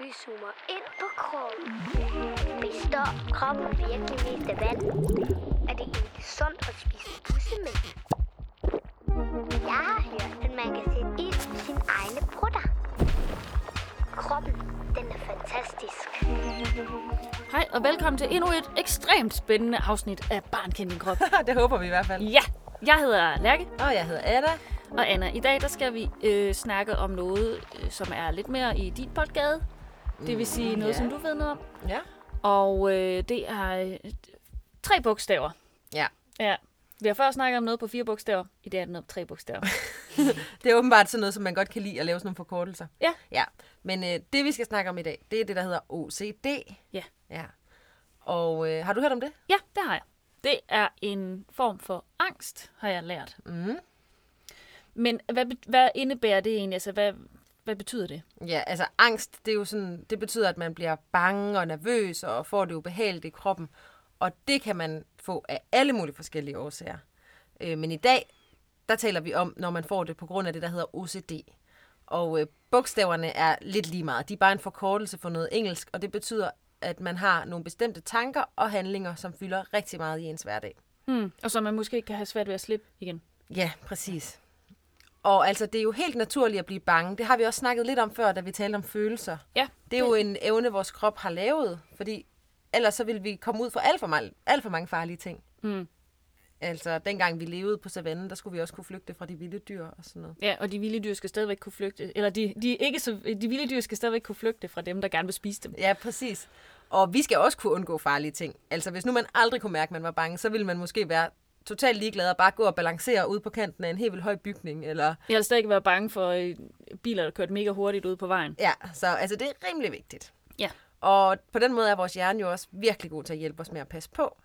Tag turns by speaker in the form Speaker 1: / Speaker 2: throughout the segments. Speaker 1: Vi zoomer ind på kroppen. Består kroppen virkelig mest af vand? Er det egentlig sundt at spise bussemænd? Jeg har hørt, at man kan sætte ild i sin egne brutter. Kroppen, den er fantastisk.
Speaker 2: Hej og velkommen til endnu et ekstremt spændende afsnit af Barn Kend Din Krop.
Speaker 3: det håber vi i hvert fald.
Speaker 2: Ja, jeg hedder Lærke
Speaker 3: Og jeg hedder Ada.
Speaker 2: og Anna. I dag der skal vi øh, snakke om noget, øh, som er lidt mere i din boldgade. Det vil sige noget,
Speaker 3: Mm, ja.
Speaker 2: som du ved noget om.
Speaker 3: Ja.
Speaker 2: Og øh, det er øh, tre bogstaver.
Speaker 3: Ja.
Speaker 2: Ja. Vi har før snakket om noget på fire bogstaver. I dag er det noget på tre bogstaver.
Speaker 3: Det er åbenbart sådan noget, som man godt kan lide at lave sådan nogle forkortelser.
Speaker 2: Ja.
Speaker 3: Ja. Men øh, det, vi skal snakke om i dag, det er det, der hedder OCD.
Speaker 2: Ja.
Speaker 3: Ja. Og øh, har du hørt om det?
Speaker 2: Ja, det har jeg. Det er en form for angst, har jeg lært.
Speaker 3: Mm.
Speaker 2: Men hvad, be- hvad indebærer det egentlig? Altså, hvad, hvad betyder det?
Speaker 3: Ja, altså angst, det er jo sådan, det betyder, at man bliver bange og nervøs og får det ubehageligt i kroppen. Og det kan man få af alle mulige forskellige årsager. Øh, men i dag, der taler vi om, når man får det på grund af det, der hedder OCD. Og øh, bogstaverne er lidt lige meget. De er bare en forkortelse for noget engelsk, og det betyder, at man har nogle bestemte tanker og handlinger, som fylder rigtig meget i ens hverdag.
Speaker 2: Hmm. Og som man måske kan have svært ved at slippe igen.
Speaker 3: Ja, præcis. Og altså, det er jo helt naturligt at blive bange. Det har vi også snakket lidt om før, da vi talte om følelser.
Speaker 2: Ja,
Speaker 3: Det er jo en evne, vores krop har lavet, fordi ellers så ville vi komme ud for alt for, meget, alt for mange farlige ting.
Speaker 2: Mm.
Speaker 3: Altså, dengang vi levede på savannen, der skulle vi også kunne flygte fra de vilde dyr og sådan noget.
Speaker 2: Ja, og de vilde dyr skal stadigvæk kunne flygte. Eller de, de, ikke så, de vilde dyr skal stadigvæk kunne flygte fra dem, der gerne vil spise dem.
Speaker 3: Ja, præcis. Og vi skal også kunne undgå farlige ting. Altså, hvis nu man aldrig kunne mærke, at man var bange, så ville man måske være totalt ligeglad og bare gå og balancere ud på kanten af en helt vildt høj bygning. Eller...
Speaker 2: Jeg vil stadig ikke være bange for øh, biler, der kørte mega hurtigt ud på vejen.
Speaker 3: Ja, så altså, det er rimelig vigtigt.
Speaker 2: Ja.
Speaker 3: Og på den måde er vores hjerne jo også virkelig god til at hjælpe os med at passe på.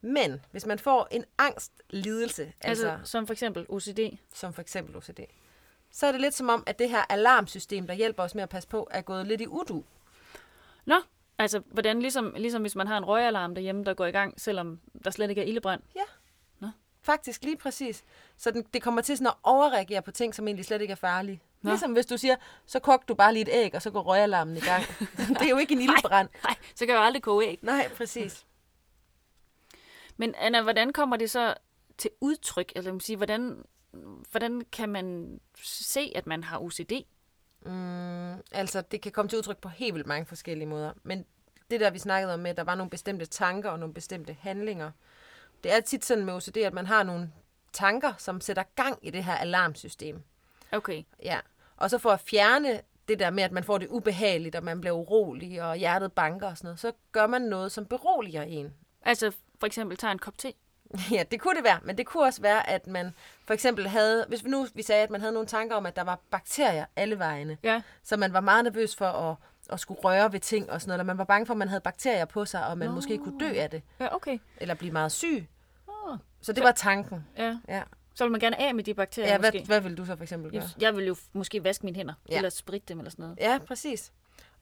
Speaker 3: Men hvis man får en angstlidelse,
Speaker 2: Altså, altså som for eksempel OCD.
Speaker 3: som for eksempel OCD, så er det lidt som om, at det her alarmsystem, der hjælper os med at passe på, er gået lidt i udu.
Speaker 2: Nå, altså hvordan, ligesom, ligesom hvis man har en røgalarm derhjemme, der går i gang, selvom der slet ikke er ildebrand.
Speaker 3: Ja.
Speaker 2: Nå.
Speaker 3: Faktisk lige præcis. Så den, det kommer til sådan at overreagere på ting, som egentlig slet ikke er farlige.
Speaker 2: Nå.
Speaker 3: Nå. Ligesom hvis du siger, så kogte du bare lige et æg, og så går røgalarmen i gang. det er jo ikke en ildebrand.
Speaker 2: Nej, så kan jeg jo aldrig koge æg.
Speaker 3: Nej, præcis.
Speaker 2: Men Anna, hvordan kommer det så til udtryk? Eller jeg må sige, hvordan, hvordan kan man se, at man har OCD?
Speaker 3: Mm, altså, det kan komme til udtryk på helt vildt mange forskellige måder. Men det der, vi snakkede om med, at der var nogle bestemte tanker og nogle bestemte handlinger. Det er tit sådan med OCD, at man har nogle tanker, som sætter gang i det her alarmsystem.
Speaker 2: Okay.
Speaker 3: Ja. Og så for at fjerne det der med, at man får det ubehageligt, og man bliver urolig, og hjertet banker og sådan noget, så gør man noget, som beroliger en.
Speaker 2: Altså for eksempel tager en kop te.
Speaker 3: Ja, det kunne det være, men det kunne også være, at man for eksempel havde, hvis vi nu vi sagde, at man havde nogle tanker om, at der var bakterier alle vegne,
Speaker 2: Ja.
Speaker 3: så man var meget nervøs for at, at skulle røre ved ting og sådan noget, eller man var bange for, at man havde bakterier på sig, og man
Speaker 2: Nå.
Speaker 3: måske kunne dø af det,
Speaker 2: Ja, okay.
Speaker 3: eller blive meget syg.
Speaker 2: Oh.
Speaker 3: Så det var tanken.
Speaker 2: Ja.
Speaker 3: Ja,
Speaker 2: Så vil man gerne af med de bakterier,
Speaker 3: ja
Speaker 2: ja,
Speaker 3: hvad,
Speaker 2: måske. Hvad,
Speaker 3: hvad vil du så for eksempel gøre?
Speaker 2: Jeg vil jo f- måske vaske mine hænder, ja.
Speaker 3: Ja.
Speaker 2: eller spritte dem, eller sådan noget.
Speaker 3: Ja, præcis.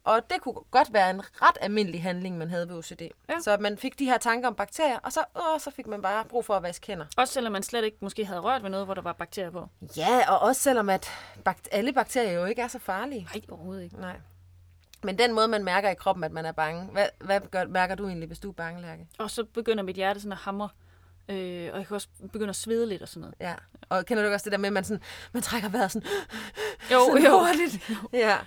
Speaker 3: Og det kunne godt være en ret almindelig handling, man havde ved OCD.
Speaker 2: Ja.
Speaker 3: Ja. Så man fik de her tanker om bakterier, og så, åh, så fik man bare brug for at vaske hænder.
Speaker 2: Også selvom man slet ikke måske havde rørt ved noget, hvor der var bakterier på.
Speaker 3: Ja, og også selvom at bakt- alle bakterier jo ikke er så farlige.
Speaker 2: Nej, overhovedet ikke.
Speaker 3: Nej. Men den måde, man mærker i kroppen, at man er bange. Hvad, hvad gør, mærker du egentlig, hvis du er bange, Lærke?
Speaker 2: Og så begynder mit hjerte sådan at hamre, øh, og jeg kan også begynde at svede lidt og sådan noget.
Speaker 3: Ja. Og kender du ikke også det der med, at man, sådan, man trækker vejret sådan,
Speaker 2: Jo,
Speaker 3: sådan
Speaker 2: jo.
Speaker 3: hurtigt? Ja.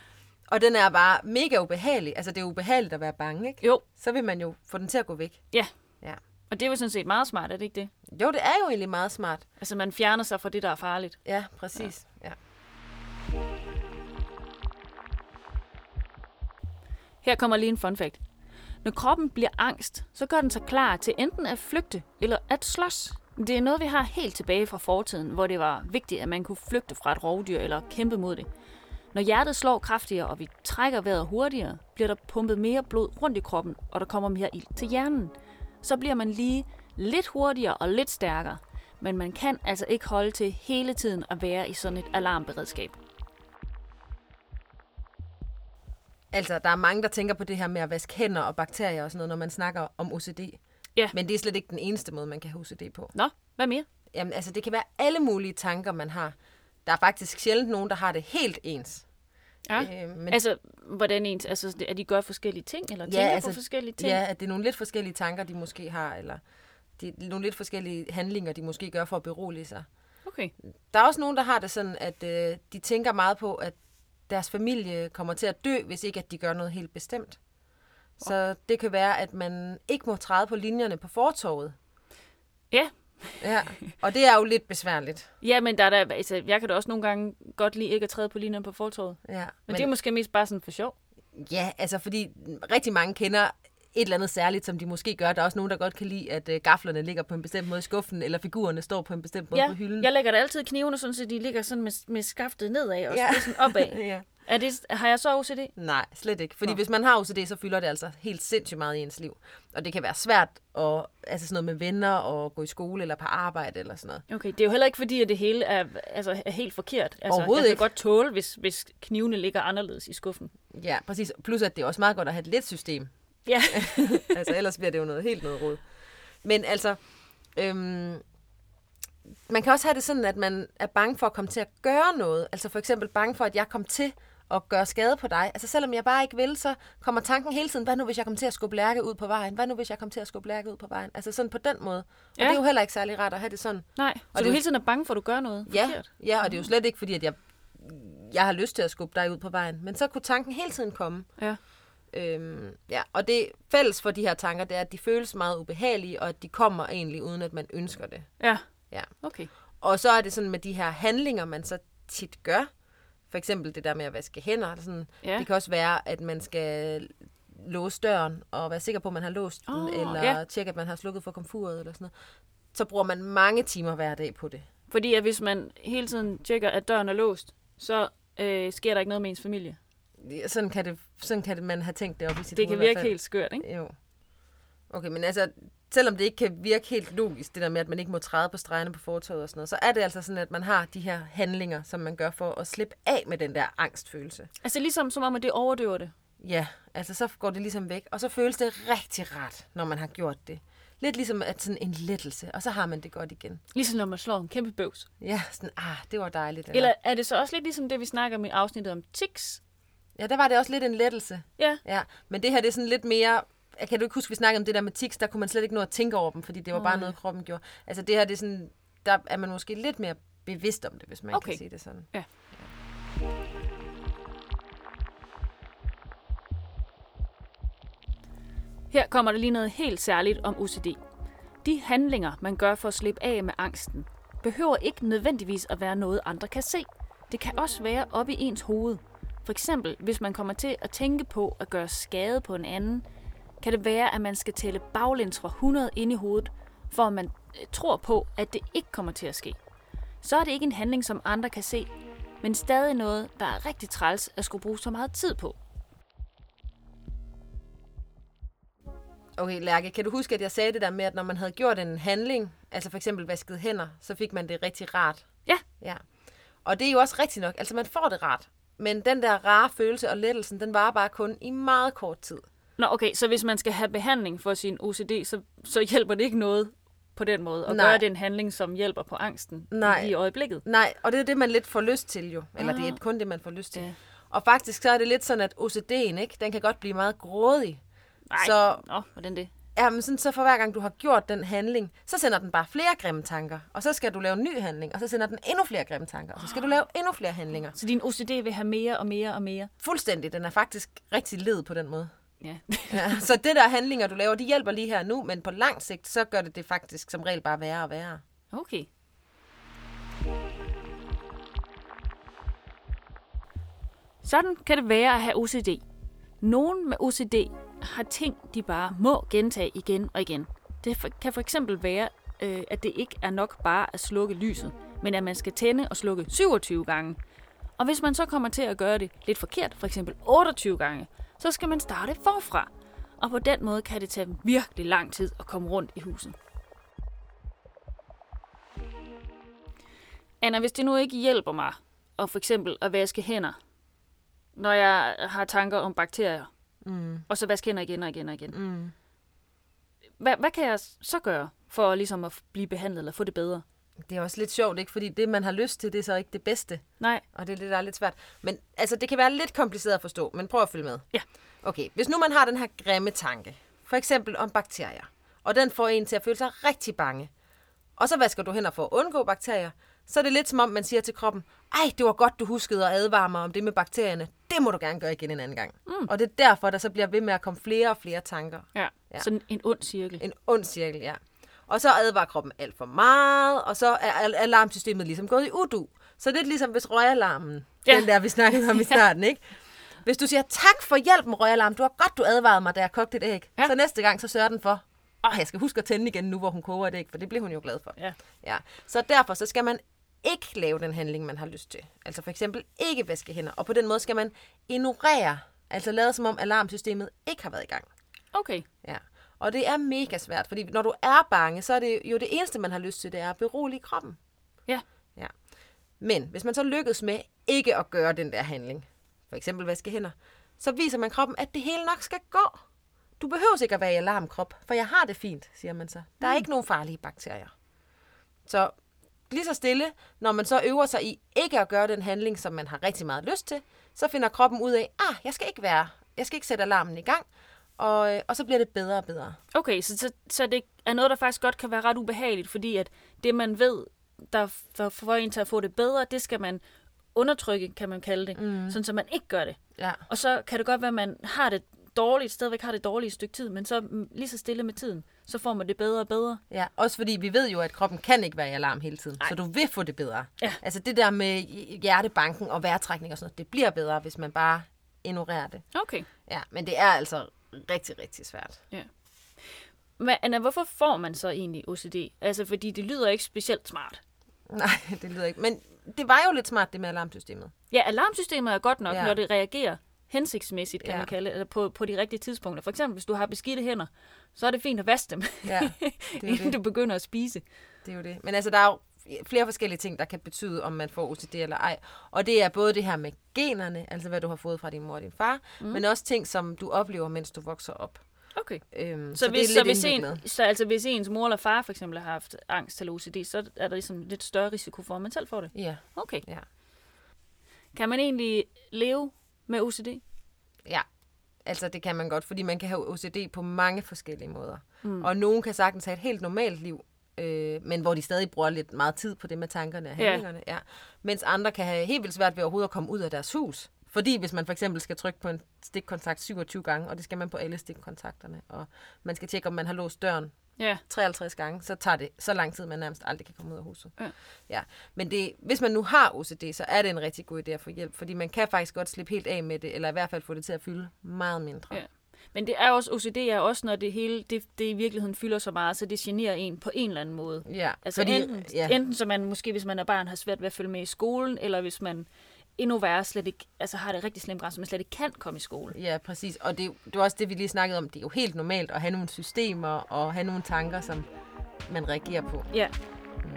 Speaker 3: Og den er bare mega ubehagelig. Altså, det er ubehageligt at være bange, ikke?
Speaker 2: Jo,
Speaker 3: Så vil man jo få den til at gå væk.
Speaker 2: ja.
Speaker 3: Ja.
Speaker 2: Og det er jo sådan set meget smart, er det ikke det?
Speaker 3: Jo, det er jo egentlig meget smart.
Speaker 2: Altså man fjerner sig fra det, der er farligt.
Speaker 3: Ja, præcis. Ja.
Speaker 2: Her kommer lige en fun fact. Når kroppen bliver angst, så gør den sig klar til enten at flygte eller at slås. Det er noget, vi har helt tilbage fra fortiden, hvor det var vigtigt, at man kunne flygte fra et rovdyr eller kæmpe mod det. Når hjertet slår kraftigere, og vi trækker vejret hurtigere, bliver der pumpet mere blod rundt i kroppen, og der kommer mere ild til hjernen. Så bliver man lige lidt hurtigere og lidt stærkere, men man kan altså ikke holde til hele tiden at være i sådan et alarmberedskab.
Speaker 3: Altså, der er mange, der tænker på det her med at vaske hænder og bakterier og sådan noget, når man snakker om OCD.
Speaker 2: Ja.
Speaker 3: Men det er slet ikke den eneste måde, man kan have OCD på.
Speaker 2: Nå, hvad mere?
Speaker 3: Jamen, altså, det kan være alle mulige tanker, man har. Der er faktisk sjældent nogen, der har det helt ens.
Speaker 2: Ja.
Speaker 3: Øh, men
Speaker 2: Altså, hvordan ens, altså, er de gør forskellige ting, eller tænker altså, på forskellige ting?
Speaker 3: Ja, at det er nogle lidt forskellige tanker, de måske har, eller det er nogle lidt forskellige handlinger, de måske gør for at berolige sig.
Speaker 2: Okay.
Speaker 3: Der er også nogen, der har det sådan, at øh, de tænker meget på, at deres familie kommer til at dø, hvis ikke at de gør noget helt bestemt. Så det kan være, at man ikke må træde på linjerne på fortorvet.
Speaker 2: Ja,
Speaker 3: Ja. Og det er jo lidt besværligt.
Speaker 2: ja men der er der, altså, jeg kan da også nogle gange godt lide ikke at træde på linjen på fortorvet. Men,
Speaker 3: Ja.
Speaker 2: men, det er måske mest bare sådan for sjov.
Speaker 3: Ja, altså fordi rigtig mange kender et eller andet særligt, som de måske gør. Der er også nogen, der godt kan lide, at øh, gaflerne ligger på en bestemt måde i skuffen, eller figurerne står på en bestemt måde på
Speaker 2: Ja,
Speaker 3: hylden.
Speaker 2: jeg lægger da altid knivene sådan, så de ligger sådan med, med skaftet nedad og
Speaker 3: Ja.
Speaker 2: ja. spidsen opad.
Speaker 3: ja.
Speaker 2: Er det, har jeg så OCD?
Speaker 3: Nej, slet ikke. Fordi hvis man har OCD, så fylder det altså helt sindssygt meget i ens liv. Og det kan være svært at, altså sådan noget med venner og gå i skole eller på arbejde eller sådan noget.
Speaker 2: Okay, det er jo heller ikke fordi, at det hele er, altså, er helt forkert. Altså,
Speaker 3: Overhovedet
Speaker 2: jeg kan
Speaker 3: ikke.
Speaker 2: godt tåle, hvis, hvis knivene ligger anderledes i skuffen.
Speaker 3: Ja, præcis. Plus at det er også meget godt at have et let system.
Speaker 2: Ja,
Speaker 3: altså ellers bliver det jo noget helt noget rod. Men altså, øhm, man kan også have det sådan, at man er bange for at komme til at gøre noget. Altså for eksempel bange for, at jeg kom til at gøre skade på dig. Altså selvom jeg bare ikke vil, så kommer tanken hele tiden, hvad nu hvis jeg kom til at skubbe lærke ud på vejen? Hvad nu hvis jeg kom til at skubbe lærke ud på vejen? Altså sådan på den måde. Og
Speaker 2: Ja.
Speaker 3: det er jo heller ikke særlig rart at have det sådan.
Speaker 2: nej. Så
Speaker 3: det
Speaker 2: du
Speaker 3: er jo-
Speaker 2: hele tiden er bange for, at du gør noget
Speaker 3: Ja,
Speaker 2: forkert?
Speaker 3: ja, og det er jo slet ikke fordi, at jeg, jeg har lyst til at skubbe dig ud på vejen. Men så kunne tanken hele tiden komme.
Speaker 2: Ja.
Speaker 3: Øhm, ja, og det fælles for de her tanker, det er, at de føles meget ubehagelige, og at de kommer egentlig, uden at man ønsker det.
Speaker 2: Ja,
Speaker 3: Ja.
Speaker 2: okay.
Speaker 3: Og så er det sådan med de her handlinger, man så tit gør. For eksempel det der med at vaske hænder. eller Sådan.
Speaker 2: Ja.
Speaker 3: Det kan også være, at man skal låse døren og være sikker på, at man har låst den,
Speaker 2: Åh,
Speaker 3: eller
Speaker 2: ja.
Speaker 3: tjekke, at man har slukket for komfuret eller sådan noget. Så bruger man mange timer hver dag på det.
Speaker 2: Fordi at hvis man hele tiden tjekker, at døren er låst, så øh, sker der ikke noget med ens familie.
Speaker 3: Ja, Sådan kan, det, sådan kan det, man have tænkt det op i sit
Speaker 2: Det kan
Speaker 3: hoved i hvert
Speaker 2: virke
Speaker 3: fald.
Speaker 2: helt skørt, ikke?
Speaker 3: Jo. Okay, men altså, selvom det ikke kan virke helt logisk, det der med, at man ikke må træde på stregerne på fortoget og sådan noget, så er det altså sådan, at man har de her handlinger, som man gør for at slippe af med den der angstfølelse.
Speaker 2: Altså ligesom som om, at det overdøver det.
Speaker 3: Ja, altså så går det ligesom væk, og så føles det rigtig rart, når man har gjort det. Lidt ligesom at sådan en lettelse, og så har man det godt igen.
Speaker 2: Ligesom når man slår en kæmpe bøvs.
Speaker 3: Ja, sådan, ah, det var dejligt.
Speaker 2: Eller er det så også lidt ligesom det, vi snakker om i afsnittet om tics?
Speaker 3: Ja, der var det også lidt en lettelse.
Speaker 2: Ja,
Speaker 3: Ja, men det her det er sådan lidt mere... Jeg kan du ikke huske, vi snakkede om det der med tics, der kunne man slet ikke nå at tænke over dem, fordi det var bare noget, kroppen gjorde. Altså det her, det er sådan, der er man måske lidt mere bevidst om det, hvis man okay.
Speaker 2: Okay.
Speaker 3: kan sige det sådan.
Speaker 2: Ja. Her kommer der lige noget helt særligt om OCD. De handlinger, man gør for at slippe af med angsten, behøver ikke nødvendigvis at være noget, andre kan se. Det kan også være oppe i ens hoved. For eksempel, hvis man kommer til at tænke på at gøre skade på en anden, kan det være, at man skal tælle baglæns fra 100 ind i hovedet, for at man øh, tror på, at det ikke kommer til at ske så er det ikke en handling, som andre kan se, men stadig noget, der er rigtig træls at skulle bruge så meget tid på.
Speaker 3: Okay, Lærke, kan du huske, at jeg sagde det der med, at når man havde gjort en handling, altså for eksempel vasket hænder, så fik man det rigtig rart.
Speaker 2: Ja,
Speaker 3: Ja. Og det er jo også rigtigt nok. Altså man får det rart. Men den der rare følelse og lettelsen, den varer bare kun i meget kort tid.
Speaker 2: nå okay, så hvis man skal have behandling for sin OCD, så, så hjælper det ikke noget på den måde at
Speaker 3: Nej.
Speaker 2: gøre den handling, som hjælper på angsten
Speaker 3: Nej.
Speaker 2: lige i øjeblikket.
Speaker 3: Nej, og det er det, man lidt får lyst til jo. Eller det er kun det, man får lyst til.
Speaker 2: Ja.
Speaker 3: Og faktisk så er det lidt sådan, at OCD'en, ikke? den kan godt blive meget grådig.
Speaker 2: Nej,
Speaker 3: Så-
Speaker 2: så... nå, hvordan det?
Speaker 3: Ja, men sådan, så for hver gang du har gjort den handling, så sender den bare flere grimme tanker. Og så skal du lave en ny handling, og så sender den endnu flere grimme tanker. Og så skal du lave endnu flere handlinger.
Speaker 2: Så din OCD vil have mere og mere og mere?
Speaker 3: Fuldstændig, den er faktisk rigtig led på den måde.
Speaker 2: Ja.
Speaker 3: Ja, så det der handlinger, du laver, de hjælper lige her nu, men på lang sigt, så gør det det faktisk som regel bare værre og værre.
Speaker 2: Okay. Sådan kan det være at have OCD. Nogen med OCD har ting, de bare må gentage igen og igen. Det for- kan for eksempel være, øh, at det ikke er nok bare at slukke lyset, men at man skal tænde og slukke 27 gange. Og hvis man så kommer til at gøre det lidt forkert, for eksempel 28 gange, så skal man starte forfra. Og på den måde kan det tage dem virkelig lang tid at komme rundt i huset. Anna, hvis det nu ikke hjælper mig at for eksempel at vaske hænder, når jeg har tanker om bakterier, mm. og så vaske hænder igen og igen og igen. Mm. Hvad, hvad kan jeg så gøre for ligesom at blive behandlet eller få det bedre?
Speaker 3: Det er også lidt sjovt, ikke? Fordi det, man har lyst til, det er så ikke det bedste.
Speaker 2: Nej,
Speaker 3: Og det er det, der er lidt svært. Men altså, det kan være lidt kompliceret at forstå, men prøv at følge med.
Speaker 2: Ja.
Speaker 3: Okay, hvis nu man har den her grimme tanke, for eksempel om bakterier, og den får en til at føle sig rigtig bange, og så vasker du hænder for at undgå bakterier, så er det lidt som om, man siger til kroppen, ej, det var godt, du huskede at advare mig om det med bakterierne. Det må du gerne gøre igen en anden gang. Mm. Og det er derfor, der så bliver ved med at komme flere og flere tanker.
Speaker 2: ja.
Speaker 3: Ja.
Speaker 2: ja. Sådan en ond cirkel.
Speaker 3: En ond cirkel, ja. Og så advarer kroppen alt for meget, og så er al- alarmsystemet ligesom gået i udu. Så det er lidt ligesom hvis røgalarmen, ja.
Speaker 2: Ja.
Speaker 3: den der vi snakkede om i starten, ikke? Hvis du siger, tak for hjælpen, røgalarm, du har godt, du advarede mig, da jeg kogte et æg. Ja.
Speaker 2: Ja.
Speaker 3: Så næste gang, så sørger den for, åh, jeg skal huske at tænde igen nu, hvor hun koger et æg, for det blev hun jo glad for.
Speaker 2: Ja.
Speaker 3: Ja. Så derfor så skal man ikke lave den handling, man har lyst til. Altså for eksempel ikke vaske hænder. Og på den måde skal man ignorere, altså lade som om alarmsystemet ikke har været i gang.
Speaker 2: Okay.
Speaker 3: Ja. Og det er mega svært, fordi når du er bange, så er det jo det eneste, man har lyst til, det er at berolige kroppen.
Speaker 2: Ja.
Speaker 3: Ja. Men hvis man så lykkes med ikke at gøre den der handling, for eksempel vaske hænder, så viser man kroppen, at det hele nok skal gå. Du behøver ikke at være i alarmkrop, for jeg har det fint, siger man så. Der er ikke nogen farlige bakterier. Så lige så stille, når man så øver sig i ikke at gøre den handling, som man har rigtig meget lyst til, så finder kroppen ud af, ah, jeg skal ikke være, jeg skal ikke sætte alarmen i gang, og, øh, og så bliver det bedre og bedre.
Speaker 2: Okay, så, så, så det er noget, der faktisk godt kan være ret ubehageligt, fordi at det, man ved, der, der får en til at få det bedre, det skal man undertrykke, kan man kalde det, mm. sådan så man ikke gør det.
Speaker 3: Ja.
Speaker 2: Og så kan det godt være, at man har det dårligt, stadigvæk har det dårlige et stykke tid, men så mm, lige så stille med tiden, så får man det bedre og bedre.
Speaker 3: Ja, også fordi vi ved jo, at kroppen kan ikke være i alarm hele tiden, Ej. så du vil få det bedre.
Speaker 2: Ja.
Speaker 3: Altså det der med hj- hjertebanken og vejrtrækning og sådan noget, det bliver bedre, hvis man bare ignorerer det.
Speaker 2: Okay.
Speaker 3: Ja, men det er altså rigtig, rigtig svært.
Speaker 2: Men Anna, hvorfor får man så egentlig OCD? Altså, fordi det lyder ikke specielt smart.
Speaker 3: Nej, det lyder ikke. Men det var jo lidt smart, det med alarmsystemet.
Speaker 2: Ja, alarmsystemet er godt nok,
Speaker 3: Ja.
Speaker 2: ja. når det reagerer hensigtsmæssigt, kan
Speaker 3: Ja.
Speaker 2: ja. man kalde det, eller på, på de rigtige tidspunkter. For eksempel, hvis du har beskidte hænder, så er det fint at vaske dem,
Speaker 3: Ja, det er jo
Speaker 2: inden
Speaker 3: det.
Speaker 2: du begynder at spise.
Speaker 3: Det er jo det. Men altså, der er jo flere forskellige ting, der kan betyde, om man får OCD eller ej. Og det er både det her med generne, altså hvad du har fået fra din mor og din far, mm. men også ting, som du oplever, mens du vokser op.
Speaker 2: Okay.
Speaker 3: Øhm,
Speaker 2: Så, så, hvis, så, hvis
Speaker 3: indviklet.
Speaker 2: en, så altså, hvis ens mor eller far for eksempel har haft angst eller OCD, så er der ligesom lidt større risiko for, at man selv får det.
Speaker 3: Ja,
Speaker 2: Okay.
Speaker 3: ja.
Speaker 2: Kan man egentlig leve med OCD?
Speaker 3: Ja, altså det kan man godt, fordi man kan have OCD på mange forskellige måder. Mm. Og nogen kan sagtens have et helt normalt liv, øh, men hvor de stadig bruger lidt meget tid på det med tankerne og
Speaker 2: Ja.
Speaker 3: handlingerne. Ja. Mens andre kan have helt vildt svært ved overhovedet at komme ud af deres hus. Fordi hvis man for eksempel skal trykke på en stikkontakt 27 gange, og det skal man på alle stikkontakterne, og man skal tjekke, om man har låst døren
Speaker 2: Ja.
Speaker 3: 53 gange, så tager det så lang tid, man nærmest aldrig kan komme ud af huset.
Speaker 2: Ja.
Speaker 3: Ja. Men det, hvis man nu har OCD, så er det en rigtig god idé at få hjælp, fordi man kan faktisk godt slippe helt af med det, eller i hvert fald få det til at fylde meget mindre.
Speaker 2: ja. Men det er også, OCD er også, når det hele, det, det i virkeligheden fylder så meget, så det generer en på en eller anden måde.
Speaker 3: Ja,
Speaker 2: Altså fordi, enten, ja. enten så man måske, hvis man er barn, har svært ved at følge med i skolen, eller hvis man endnu værre slet ikke, altså har det rigtig slemt grænse, så man slet ikke kan komme i skole.
Speaker 3: Ja, præcis. Og det, er jo- det var også det, vi lige snakkede om. Det er jo helt normalt at have nogle systemer og have nogle tanker, som man reagerer på.
Speaker 2: Ja. Mm.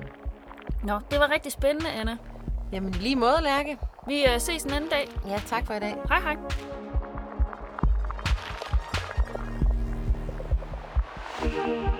Speaker 2: Nå, det var rigtig spændende, Anna.
Speaker 3: Jamen i lige måde, Lærke.
Speaker 2: Vi øh, ses en anden dag.
Speaker 3: Ja, tak for i dag.
Speaker 2: Hej hej.
Speaker 1: Bistå